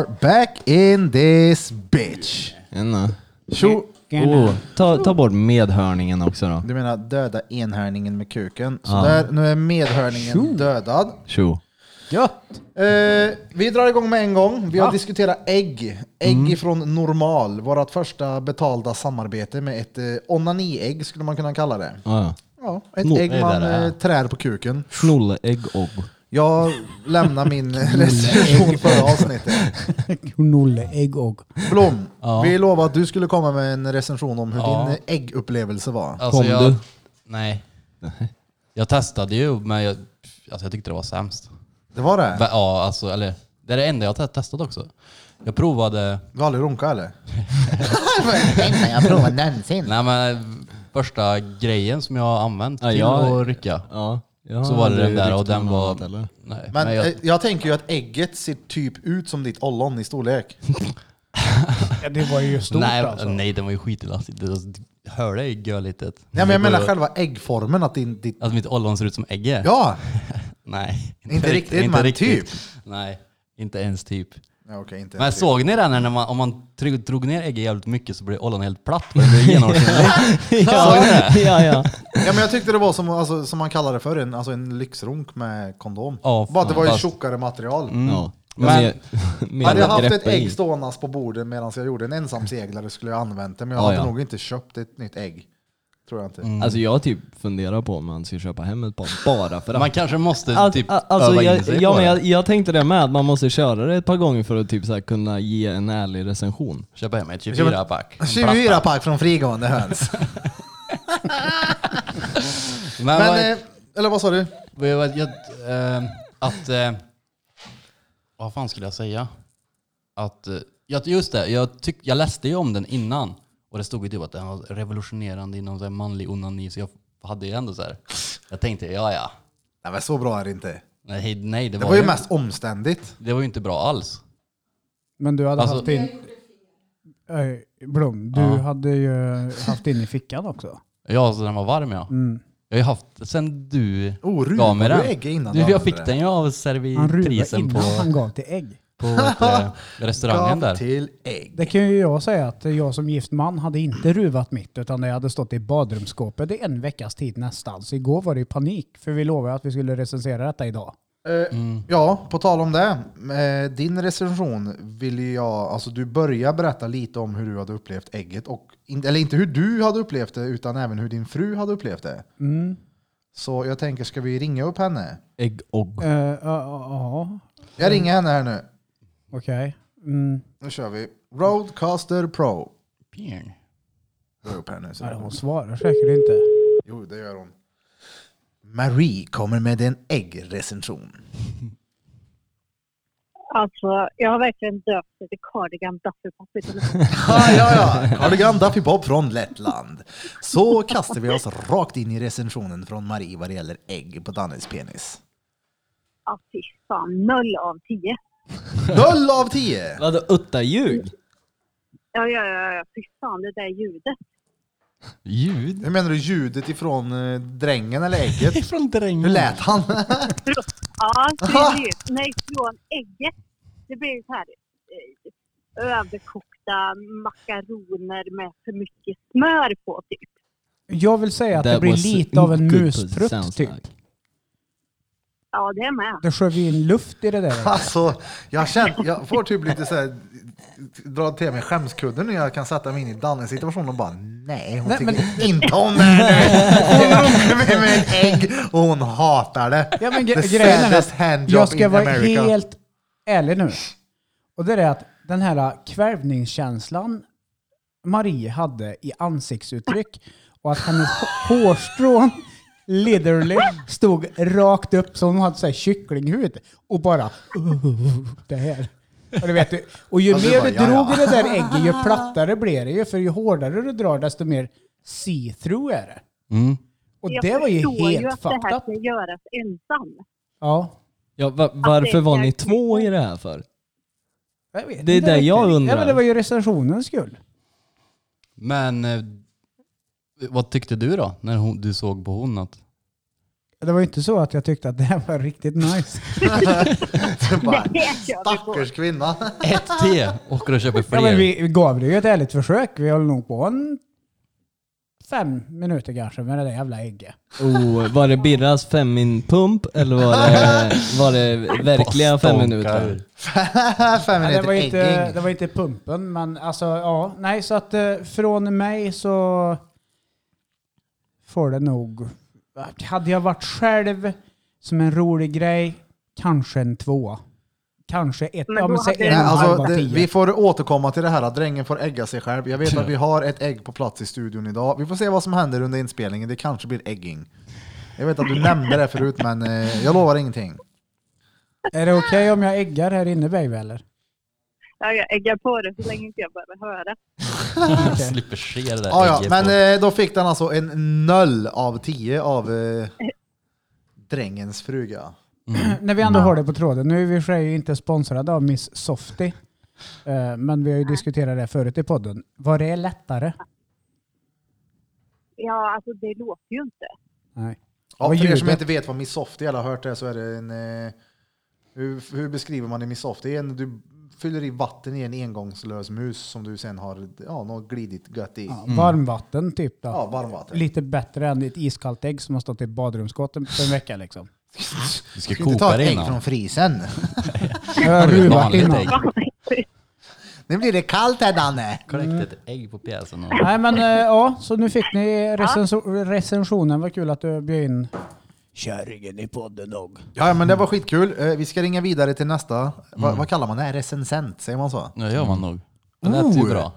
are back in this bitch. En, Tjo! oh, ta, ta bort medhörningen också då. Du menar döda enhörningen med kuken. Så där, nu är medhörningen dödad. Tjo. Gött! Eh, vi drar igång med en gång. Vi har diskuterat ägg. Ägg ifrån Normal. Vårt första betalda samarbete med ett eh, onani-ägg skulle man kunna kalla det. Ah, ja. Ja, ett Nå, det ägg är man det här. eh, trär på kuken. Knulleägg och... Jag lämnar min recension förra avsnittet. Nolle ägg och... Blom, vi lovade att du skulle komma med en recension om hur Ja. din äggupplevelse var. Alltså, Kom jag, du? Nej. Jag testade ju, men jag, alltså, jag tyckte det var sämst. Det var det? Va- Ja, alltså, eller, det är det enda jag har te- testat också. Jag provade, Du har aldrig runkat eller? Nej, jag provar någonsin. nej men eh, första grejen som jag har använt Ja, till jag- att rycka. Ja. Jag har Så var det den aldrig där ryckt och den någon var... annat, eller? Nej, Men men jag, eh, jag tänker ju att ägget ser typ ut som ditt ollon i storlek. Ja, det var ju stort nej, alltså. nej, den var ju skitelastig. Hörde är ju görlitet. Nej, men jag menar själva äggformen. Att din, ditt... Att alltså, mitt ollon ser ut som ägge? Ja! Nej. Inte riktigt, men typ. Nej, inte ens typ. ja okej, inte Men ens såg ni den här när man, om man tryck- drog ner ägget jävligt mycket så blev ollonet helt platt? för Det blev genomskinligt. ja, ja, ja. det. ja, men jag tyckte det var som, alltså, som man kallade det förr, en, alltså en lyxrunk med kondom. Ja, Bara att det var ju fast- tjockare material. Mm. ja. Men- mer- mer Hade jag haft greppa ett ägg i. ståendes på bordet medan jag gjorde en ensamseglare skulle jag använt det, men jag Ja, hade ja. nog inte köpt ett nytt ägg. Tror jag inte. Alltså jag typ funderar på om man ska köpa hem ett par bara för att... Man kanske måste Al- typ a- alltså öva in jag, sig ja, på men det. jag, jag tänkte det med, att man måste köra det ett par gånger för att typ så här kunna ge en ärlig recension. Köpa hem ett 24-pack. En 24 platta. pack från frigående höns. Men, Men, vad- eh, eller vad sa du? vad, jag, jag, eh, att... Eh, vad fan skulle jag säga? Att... Eh, ja, just det, jag, tyck, jag läste ju om den innan. Och det stod ju typ att den var revolutionerande inom så här manlig onani. Så jag hade ju ändå så här... Jag tänkte, ja ja. Nej men så bra är det inte. Nej, nej det, Det var ju mest omständigt. Det var ju inte bra alls. Men du hade Alltså- haft in... Öj, Blom, du hade ju haft in i fickan också. Ja, så den var varm ja. Mm. Jag har ju haft sen du Oh, ruvar gav mig du den. ägg innan du du, jag använde fick det? den ju av Han ruvade servitrisen innan på, han gav till ägg. på vet du, restaurangen Gav där. till ägg. Det kan ju jag säga att jag som gift man hade inte ruvat mitt utan det hade stått i badrumsskåpet i en veckas tid nästan. Så igår var det ju panik för vi lovade att vi skulle recensera detta idag. Eh, Ja, på tal om det. Eh, din recension ville ju jag, alltså du börjar berätta lite om hur du hade upplevt ägget. Och, in, eller inte hur du hade upplevt det, utan även hur din fru hade upplevt det. Så jag tänker, ska vi ringa upp henne? Ägg och... Eh, Ja, ja, Jag ringer henne här nu. okej. Mm. Nu kör vi. Roadcaster Pro. Björn. Dra upp här nu. så Nej, det- Hon svarar säkert inte. Jo, det gör hon. Marie kommer med en äggrecension. Alltså, jag har verkligen döpt det till cardigan duffelpop i telefon. Ah, ja, ja. Cardigan Daffy Bob från Lettland. Så kastar vi oss rakt in i recensionen från Marie vad det gäller ägg på Dannes penis. Ja, fy fan. Noll av tio. Noll av tio! Vadå, utta ljug? Ja, ja, ja, ja. Fy fan, det där ljudet. Ljud? Hur menar du ljudet ifrån eh, drängen eller ägget? Ifrån drängen. Hur lät han? Ja, precis. Nej, från ägget. Det blir så här eh, överkokta makaroner med för mycket smör på, typ. Jag vill säga att det That blir was lite av en good musprutt sounds typ. like. Ja, det är med. Då sköv vi in luft i det där. Alltså, jag, känner, jag får typ lite såhär, dra till mig skämskudden när jag kan sätta mig in i Dannes situation och bara nej, hon Nej, tycker men- inte om det här nu. Hon runkar mig med ett ägg och hon hatar det. Ja, men The gre- grejen är saddest att handjob jag ska in vara America. helt ärlig nu. Och det är att den här kvävningskänslan Marie hade i ansiktsuttryck och att hennes h- hårstrån literally stod rakt upp som hon hade så här kycklinghud och bara det här. Och, du vet, och ju Och Alltså, du mer bara, du "Ja, drog ja." i det där ägget ju plattare blir det ju för ju hårdare du drar desto mer see-through är det. Mm. Och jag det var ju förstår ju helt att det fucked här up. ska göras ensam. Ja. Ja, va, varför var ni två i det här för? Jag vet Det är inte det riktigt. jag undrar. Ja, men det var ju recensionens skull. Men eh, vad tyckte du då? När hon, du såg på hon att Det var ju inte så att jag tyckte att det här var riktigt nice. Det bara, Det kör vi på. Stackars kvinna. Ett till åker och köper Ja, men fler. vi vi gav det ju ett ärligt försök. Vi höll nog på en fem minuter kanske med det där jävla ägget. Oh, var det Birras femminpump eller var det, var det verkliga fem minuter? Fem Ja, det, minuter var inte, ägging. det var inte pumpen, men alltså ja. Nej, så att eh, från mig så får det nog... Hade jag varit själv som en rolig grej, kanske en tvåa. Kanske ett... Men ja, då men säg hade- en Nej, alltså, halva det, tio. vi får återkomma till det här att drängen får ägga sig själv. Jag vet att vi har ett ägg på plats i studion idag. Vi får se vad som händer under inspelningen. Det kanske blir ägging. Jag vet att du nämnde det förut, men eh, jag lovar ingenting. Är det okej om jag äggar här inne baby eller? Ja, jag äggar på det så länge inte jag behöver höra. Slipper se det där Ah, ja, ägget på- men eh, då fick den alltså en noll av tio av eh, drängens fruga. När vi ändå har det på tråden. Nu är vi i och för sig inte sponsrade av Miss Softy. eh, Men vi har ju diskuterat det förut i podden. Var det lättare? Ja, alltså det låter ju inte. Nej. Ja, Vad för er som ljudet. inte vet vad Miss Softy eller har hört det så är det en... Eh, hur, hur beskriver man en Miss Softy? Det är En, du fyller i vatten i en engångslös mus som du sen har ja, något glidit gött i. Ja, Varmvatten typ då. Mm. Ja, varmvatten. Lite bättre än ett iskallt ägg som har stått i badrumsskåpet för en vecka liksom. Du ska Du kan inte ta koka det ett ägg innan. från frysen. Jag har Ett ruvat vanligt innan. ägg. Nu blir det kallt här Danne! Korrekt, ett ägg på pjäsen. och- Nej men eh, ja, så nu fick ni recenso- recensionen. Vad kul att du bjöd in kärringen i podden nog. Ja, men det var skitkul. Eh, Vi ska ringa vidare till nästa. Va, vad kallar man det? Recensent? Säger man så? Nu gör man nog. Det lät ju Oh. bra.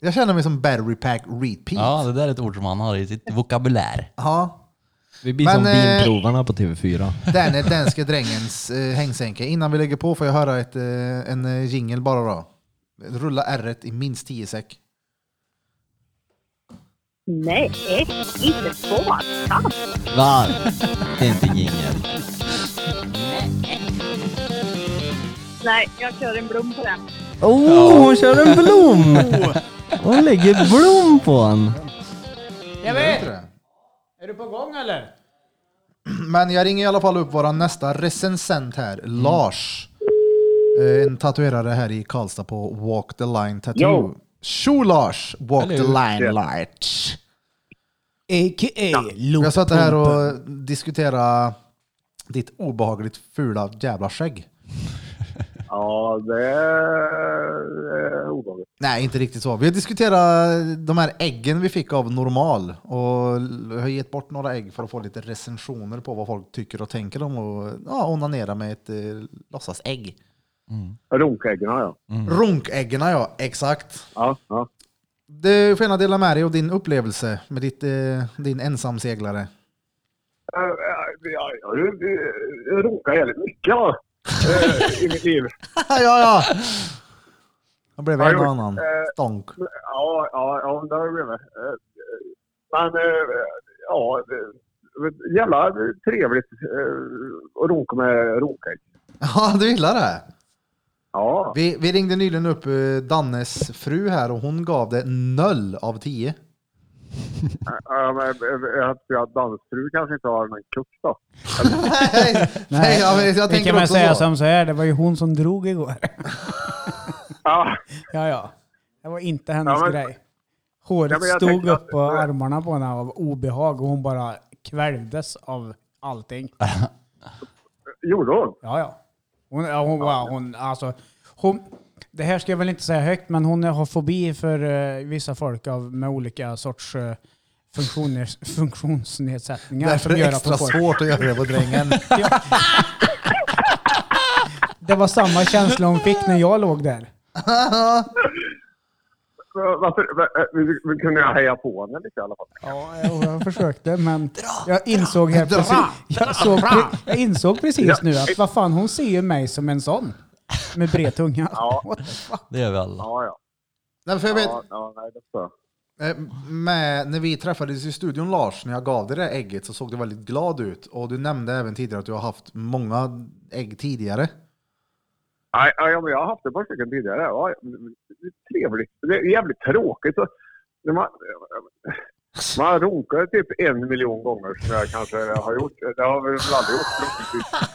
Jag känner mig som battery pack repeat. Ja, det där är ett ord som han har i sitt vokabulär. Ja. Vi blir Men, som eh, bilprovarna på TV4. Den är danske drängens eh, hängsänke. Innan vi lägger på får jag höra ett, eh, en eh, jingle bara då. Rulla r i minst 10 sek. Nej, inte så. Va? Det är inte jingel. Nej, jag kör en blom på den. Oh, hon kör en blom! Hon lägger blom på en. Jag Är det vet! inte det? Är du på gång eller? Men jag ringer i alla fall upp vår nästa recensent här, Lars. Eh, En tatuerare här i Karlstad på Walk the Line Tattoo. Jo. Tjo Lars! Walk the line Lars. A.k.a. Loop. Jag satt här och diskuterade ditt obehagligt fula jävla skägg. Ja, det är obehagligt. Nej, inte riktigt så. Vi har diskuterat eh, de här äggen vi fick av Normal och jag har gett bort några ägg för att få lite recensioner på vad folk tycker och tänker om och ja, onanera med ett eh, låtsasägg. Runkäggen har jag. Runkäggen ja, exakt. Ja, ja. Du får gärna dela med dig av din upplevelse med ditt, eh, din ensamseglare. Eh, eh, Jag, jag, jag runkar jävligt mycket va? Eh, i mitt liv. ja, ja! Jag blev Har en och gjort, annan eh, stånk. Ja, ja, ja det har jag blivit. Eh, Men eh, ja, det- jävla trevligt eh, att runka med runkägg. Ja, du gillar det? Ja, Vi, vi ringde nyligen upp eh, Dannes fru här och hon gav det noll av tio. eh, men, eh, jag tror att dansfru kanske inte har någon kupp då. Nej, nej, ja, men jag Det tänker kan man också säga så. som så här, det var ju hon som drog igår. Ja, Ja, ja. Det var inte hennes Ja, men- grej. Håret Ja, men jag stod tänkte upp att- på armarna på henne av obehag och hon bara kvälvdes av allting. gjorde hon? Ja, ja. Hon, ja, hon, ja. hon, alltså, hon, det här ska jag väl inte säga högt, men hon har fobi för eh, vissa folk av, med olika sorts eh, funktioner, funktionsnedsättningar. Därför som är det gör att extra hon får- svårt att göra det på drängen. Det var samma känsla hon fick när jag låg där. Eh, Varför, eh, eh, kunde jag heja på henne lite i alla fall? Ja, jag jag försökte men jag insåg här Dra! precis, jag, såg, pre- jag insåg precis nu att vad fan hon ser ju mig som en sån. Med bred tunga. Ja. What the fuck? Det gör vi alla. Ja, ja. Nej, för jag vet, Ja, ja, nej, det förstår jag. eh, med, när vi träffades i studion Lars, när jag gav dig det där ägget så såg du väldigt glad ut. Och du nämnde även tidigare att du har haft många ägg tidigare. Nej, ja, men jag har haft ett par stycken tidigare. Ja, det är trevligt. Det är jävligt tråkigt. Så, när man, Man runkar typ en miljon gånger som jag kanske har gjort. Det har vi väl aldrig gjort. förhoppningsvis.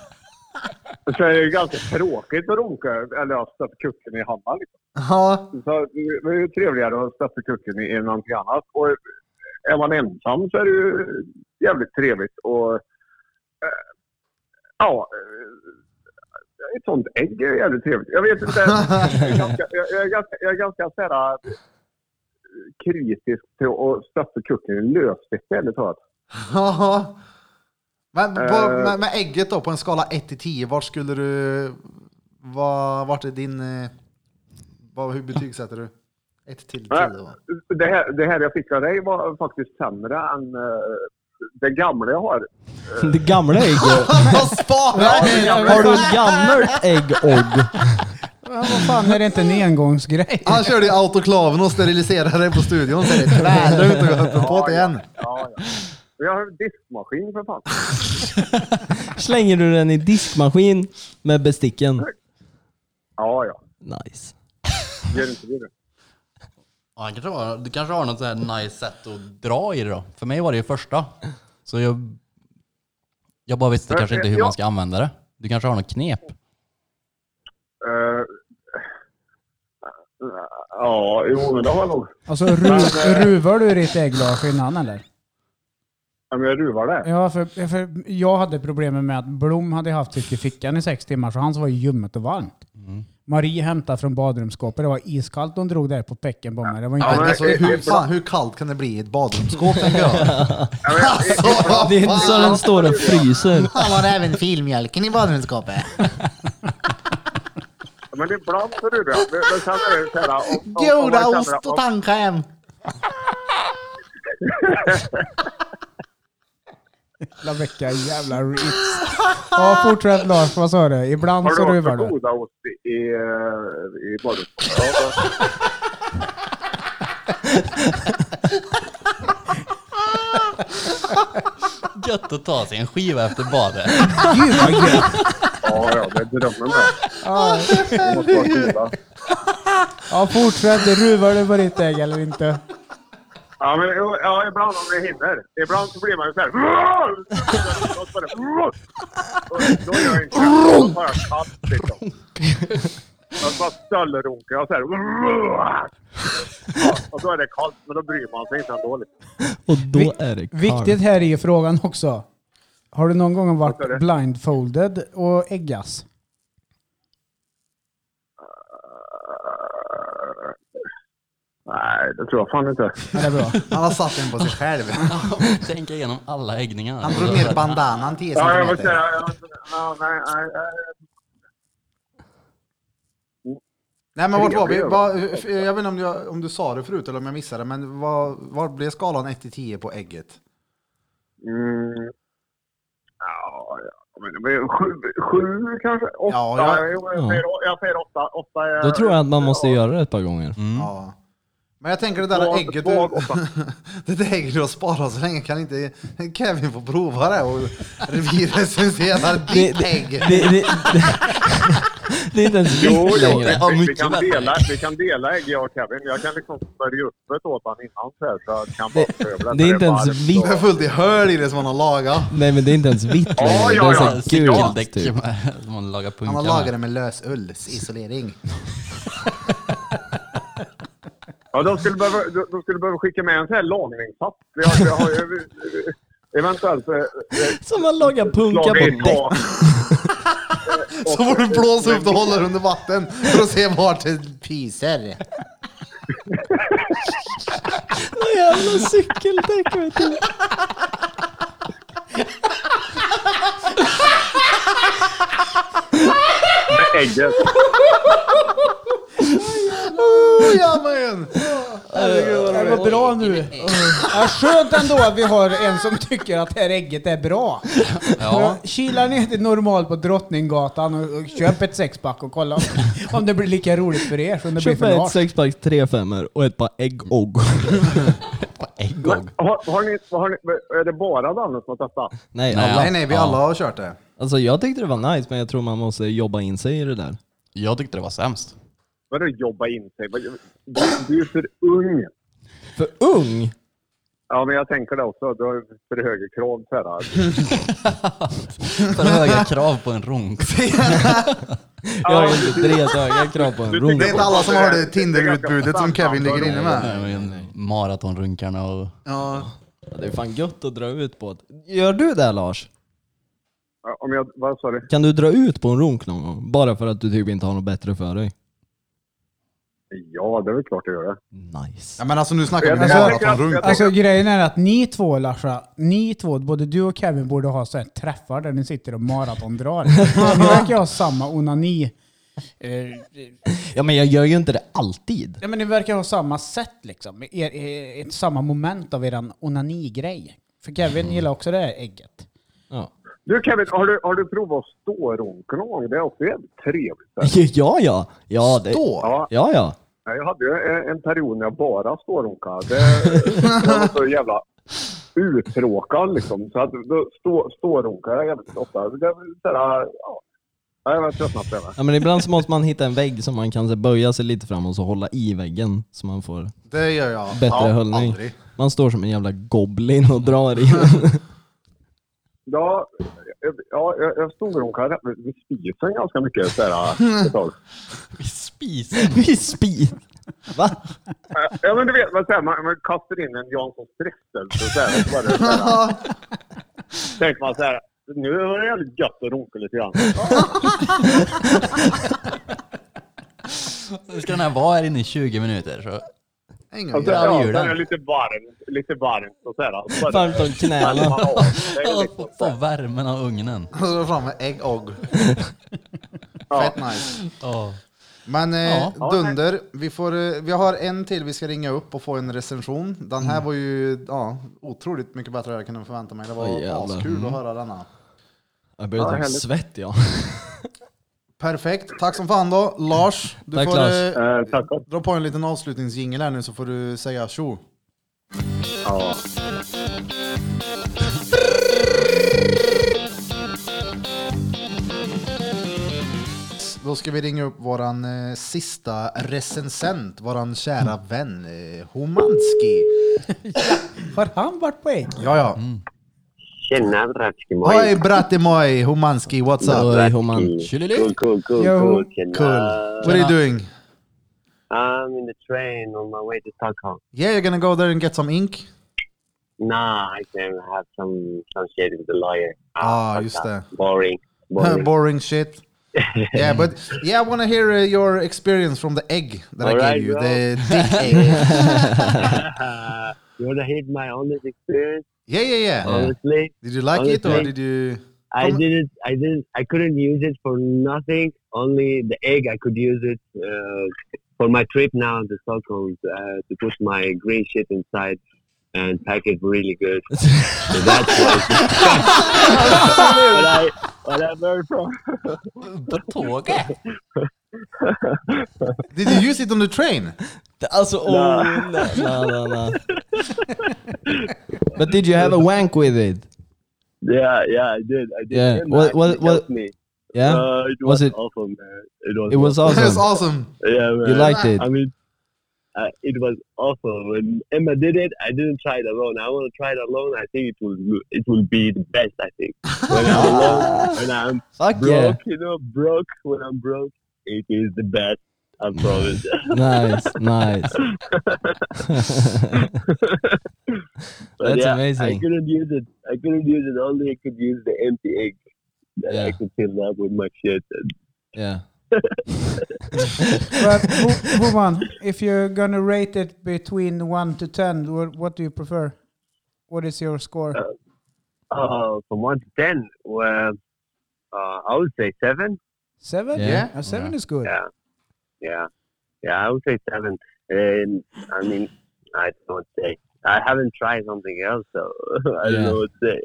Så det är ju ganska tråkigt att runka, eller att stötta kucken i hammaren. Liksom. Ja, Så det är ju trevligare att stötta kucken i någonting annat. Och eh, är man ensam så är det ju jävligt trevligt. Och, eh, ja, eh, ett sånt ägg är jävligt trevligt. Jag vet inte. Jag är ganska, jag, jag är ganska, jag är ganska så här, eh, kritisk till att stötta kucken i lösvikt ärligt talat. ja. Men på, Eh. med, med ägget då, på en skala 1 till 10, vart skulle du... Vad, vart är din... eh, Vad, hur betygsätter du? 1 till 10 då? Det här, det här jag fick av dig var faktiskt sämre än eh, det gamla jag har. Det gamla ägget. Vad sparar du? Har du ett gammalt ägg, Ogg? Ja, vad fan, är det inte en engångsgrej? Han körde i autoklaven och steriliserade den på studion. Sen är det tvär ut och öppnar på det igen. Ja, ja. Jag har en diskmaskin för fan. Slänger du den i diskmaskin med besticken? Ja, ja. Nice. Gör inte det. Ja, han kanske har, du kanske har något så här nice sätt att dra i det då. För mig var det ju första. Så jag, jag bara visste Men, kanske inte hur ja. man ska använda det. Du kanske har något knep? Eh, ja, jo, men det har jag nog. Alltså, ru, eh, ruvar du ditt ägglage innan eller? Ja, men jag ruvar det. Ja, för, för jag hade problemet med att Blom hade haft sitt i fickan i sex timmar, så hans var ju ljummet och varmt. Marie hämtade från badrumsskåpet, det var iskallt hon drog där på pecken på mig. Det var inte Men men- alltså, hur, fan, hur kallt kan det bli i ett badrumsskåp tänker jag? Ja, men, Alltså, vad Det är inte så fan. den står och fryser. Han har även filmjölken i badrumsskåpet. men ibland så ruvar jag. Men, men sen är det så här... om- om- om man känner att man- tandkräm. hela veckan, jävla reats. Ja, fortsätt Lars, vad sa du? Ibland så Har du ruvar varit på du. godaost i, i, eh, i badrumsskåpet? Ja, men- Gött att ta sig en skiva efter badet. Gud vad gött! Ja, ja, det är drömmen det. Det måste vara goda. Ja, fortsätt. Ruvar du på ditt ägg eller inte? Ja, men jo, ja, ibland om det hinner. Ibland så blir man ju så här... Och så bara- Och Då gör jag inte det. Då tar jag kast liksom. Jag bara stöllrunkar. Jag så här... Ja, och då är det kallt, men då bryr man sig inte ändå. Liksom. Och då är det Viktigt kallt. här är ju frågan också. Har du någon gång Vad sa varit du? blindfolded och äggas? Nej, det tror jag fan inte. Ja, det är bra. Han har satt den på sig själv. Tänka igenom alla äggningar. Han drog ner bandanan 10 Ja, jag måste centimeter. säga... jag måste- ja, Nej, nej, nej. Nej men vart var vi? Trevlig, Vad- jag vet inte om, jag, om du sa det förut eller om jag missade men vad, vad blev skalan 1 till 10 på ägget? Mm. Ja, ja. Men, men, sju, sju kanske? Åtta? Ja, Ja, jag- jag, jag, säger, jag säger åtta. åtta är, Då tror jag att man måste göra det ett par gånger. Ja. Men jag tänker det där Två- ägget två du, av åtta. det där ägget du har sparat så länge kan inte Kevin få prova det och revirrecensera Det, ditt det, ägg. det, det, det är inte ens Jo, vitt jo, vi, längre. vi, vi, kan dela, vi kan dela ägg jag och Kevin. Jag kan liksom smörja upp ett åt honom innan så här så han kan bara skövla. det är inte ens varmt vi- Det är och- fullt i höl i det som han har lagat. Nej men det är inte ens vitt längre. Ja, Det ja, är ja. så här gult typ. som man lagar punkar Han har lagat med. det med lös ull, isolering. Ja, de skulle behöva, de, de skulle behöva skicka med en sån här lagningssats. Vi har, vi har ju... Eventuellt... eh, eh, Som man lagar punkar laga i på däck. tak. Så får du blåsa upp och hålla under vatten för att se vart det pyser. Vad jävla cykeldäck vet du. Med ägget. Oh, ja, men. Det var bra nu. Ja, skönt ändå att vi har en som tycker att det här ägget är bra. Ja. Kila ner till normal på Drottninggatan och, och köp ett sexpack och kolla om, om det blir lika roligt för er som det blir Köp för ett Lars. sexpack, tre femmor och ett par ägg och. Äggog. Har, har ni, har ni, är det bara Danne som har testat? Nej, Nej. alla. Nej, nej, vi Ja. alla har kört det. Alltså jag tyckte det var nice men jag tror man måste jobba in sig i det där. Jag tyckte det var sämst. Vadå jobba in sig? Vad- Du du är ju för ung. För ung? Ja, men jag tänker det också. Du har för höga krav så här. För höga krav på en runk. Jag har inte tre höga krav på en Du runk. tycker- Det är inte alla som har det Tinder-utbudet som Kevin ligger inne med. Maratonrunkarna och... Ja. Det är fan gött att dra ut på ett... Gör du det Lars? Om jag, vad sa du? Kan du dra ut på en runk någon gång? Bara för att du typ inte har något bättre för dig? Ja, det är väl klart jag gör det. Nice. Ja, men alltså nu snackar vi Jag tänker att- maratonrunk. jag Alltså grejen är att ni två Larsa, ni två, både du och Kevin borde ha så här träffar där ni sitter och maratondrar. ni verkar ha samma onani. eh, Ja men jag gör ju inte det alltid. Ja men ni verkar ha samma sätt liksom. Er, er, ett, samma moment av eran onani-grej. För Kevin Mm. gillar också det här ägget. Ja, Du Kevin, har du, har du provat att stå runka någon gång? Det är också jävligt trevligt. så här. ja. Ja, ja, det, Då? Ja, ja, ja. Nej, Jag hade ju en- en period när jag bara stårunkade. Det, jag var så jävla uttråkad liksom. Så att då stå, stårunkade jag jävligt ofta. Det var sådär, ja. Nej, Jag var tröttnat på det. ja men ibland så måste man hitta en vägg som man kan så, böja sig lite fram och så hålla i väggen. Så man får Det gör jag. bättre ja, höllning. aldrig. Man står som en jävla goblin och drar i den. Ja, jag- ja, jag, jag stårunkade rätt- vid spisen ganska mycket sådär ett tag. Spisen. Vid spis. Va? Ja men du vet, man, såhär, man, man kastar in en Jansson frestelse och såhär, så bara, såhär, tänker man såhär, nu var det jävligt gött att runka lite grann. Nu ska den här vara här inne i 20 minuter. Så. Ingen Och så, jävla- vi ja, gör så är det. det lite varmt, lite varmt och sådär. Och så bara- Varmt om knäna. man av sig Ja, lite. Få värmen av ugnen. Och så drar fram Alltså, med ägg och. Fett nice. Ja. Men eh, Ja. Dunder, vi, får, eh, vi har en till vi ska ringa upp och få en recension. Den Mm. här var ju ja, otroligt mycket bättre än jag kunde förvänta mig. Det var Oj, jävlar. Mm. askul att höra denna. Jag börjar Ja, typ härligt. svett ja. Perfekt, tack som fan då. Lars, du Tack, får Lars. Eh, Eh, tackar. dra på en liten avslutningsjingel här nu så får du säga tjo. Ja. Då ska vi ringa upp våran eh, sista recensent, våran kära vän eh, Homanski. Har han varit på ägg? Ja, ja. Mm. Tjena Bratkimoj! Hej Bratimoj Homanski, what's up? Oj, Homan. Tjolilu. Cool, cool, cool, Yo. cool. Tjena. Cool. What are you doing? I'm in the train on my way to Stockholm. Yeah, you're gonna go there and get some ink? Nah, I can have some some shit with the lawyer. Ah, fuck just that. det. Boring. Boring. Boring shit. Yeah, but yeah, I want to hear uh, your experience from the egg that I All right, gave you, bro. the dick egg. you wanna hear my honest experience? yeah, yeah, yeah. Honestly, Did you like it or Honestly. did you? I Come- didn't. I didn't. I couldn't use it for nothing. Only the egg. I could use it uh, for my trip now to Stockholm uh, to put my green shit inside and pack it really good. so that's what, what I what I learned from. På tåget. Did you use it on the train? Alltså oh, na, na, na. But did you have a wank with it? Yeah, yeah, I did. I did. Yeah. Him What- what- actually what- helped Me. Yeah? Uh, it Was was, it- awful, man. It was. It was That's awesome. awesome. Yeah, man. You liked it? I mean, uh, it was awful. When Emma did it, I didn't try it alone. I want to try it alone. I think it will it will be the best. I think when I'm alone, when I'm Fuck yeah. broke, you know, broke when I'm broke, it is the best. I promise. Nice, nice. But That's yeah, I amazing. couldn't use it. I couldn't use it. Only I could use the empty egg that Yeah. I could fill up with my shit. And Yeah. But Ho- Homan, if you're gonna rate it between 1 to 10, what, what do you prefer? What is your score? uh, from one to ten, well, uh, I would say seven. Seven? Yeah. Uh, seven is good. Yeah, yeah, yeah. I would say seven. And I mean, I don't say I haven't tried something else, so I Yeah. don't know what to say.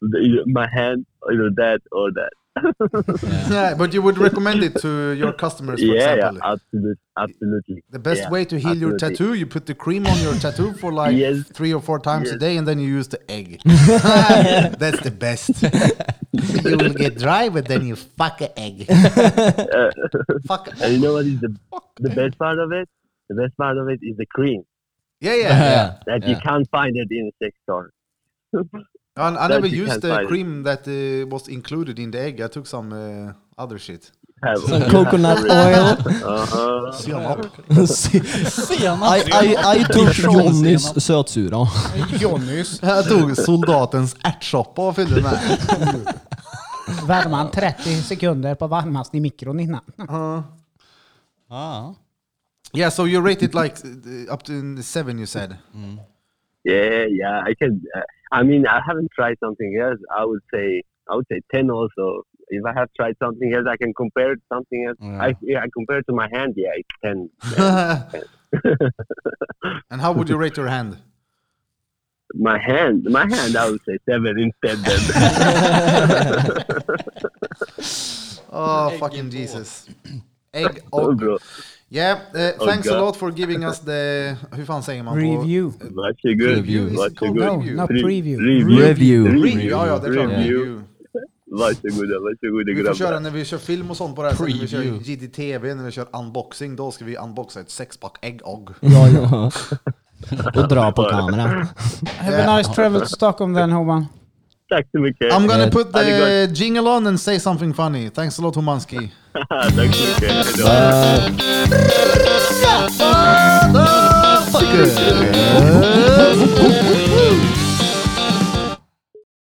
Either My hand, either that or that. Yeah, but you would recommend it to your customers, for yeah, yeah, example. absolutely, absolutely. the best yeah, way to heal your absolutely. tattoo, you put the cream on your tattoo for like Yes. three or four times a Yes. day, and then you use the egg. That's the best. you will get dry, but then you fuck an egg. fuck. And you know what is the the best part of it? The best part of it is the cream. Yeah, yeah, Uh-huh. yeah. that you Yeah. can't find it in a sex store. And I That never you used can the find. cream that uh, was included in the egg. I took some uh, other shit. Have Some coconut oil. Uh-huh. Senap. I, I, I tog Johnnys sötsura. Johnnys. Jag tog soldatens ärtsoppa och fyllde med. Värma han 30 sekunder på varmast i mikron innan. Uh, Ah. yeah, so you rate it like uh, up to seven you said. Yeah, yeah. I can. Uh, I mean, I haven't tried something else. I would say, I would say ten also. If I have tried something else, I can compare it to something else. Yeah. I yeah, I compare it to my hand. Yeah, it's ten. And how would you rate your hand? My hand, my hand. I would say seven instead. Then. Oh, fucking Jesus. Egg oh, och... bro, Yeah, uh, thanks a Oh, God. lot for giving us the... Hur fan säger man? på- Review. much you good. Review. Is it Much you called good. No, Review. not Re- preview. Oh, Review. Review. Review, ja, ja, det är klart. Review. Review. Much you good. Much you good. Vi får köra grabbar. när vi kör film och sånt på det här sättet. När vi kör Preview. JDTV, när vi kör unboxing, då ska vi unboxa ett sexpack ägg och. Ja, ja. Och dra på kameran. Have a nice travel to Stockholm then Hoban. Tack så mycket. I'm gonna Eh, put ha det the jingle on and say something funny. Thanks a lot Humanski. Tack så mycket. Hejdå. Fuck it.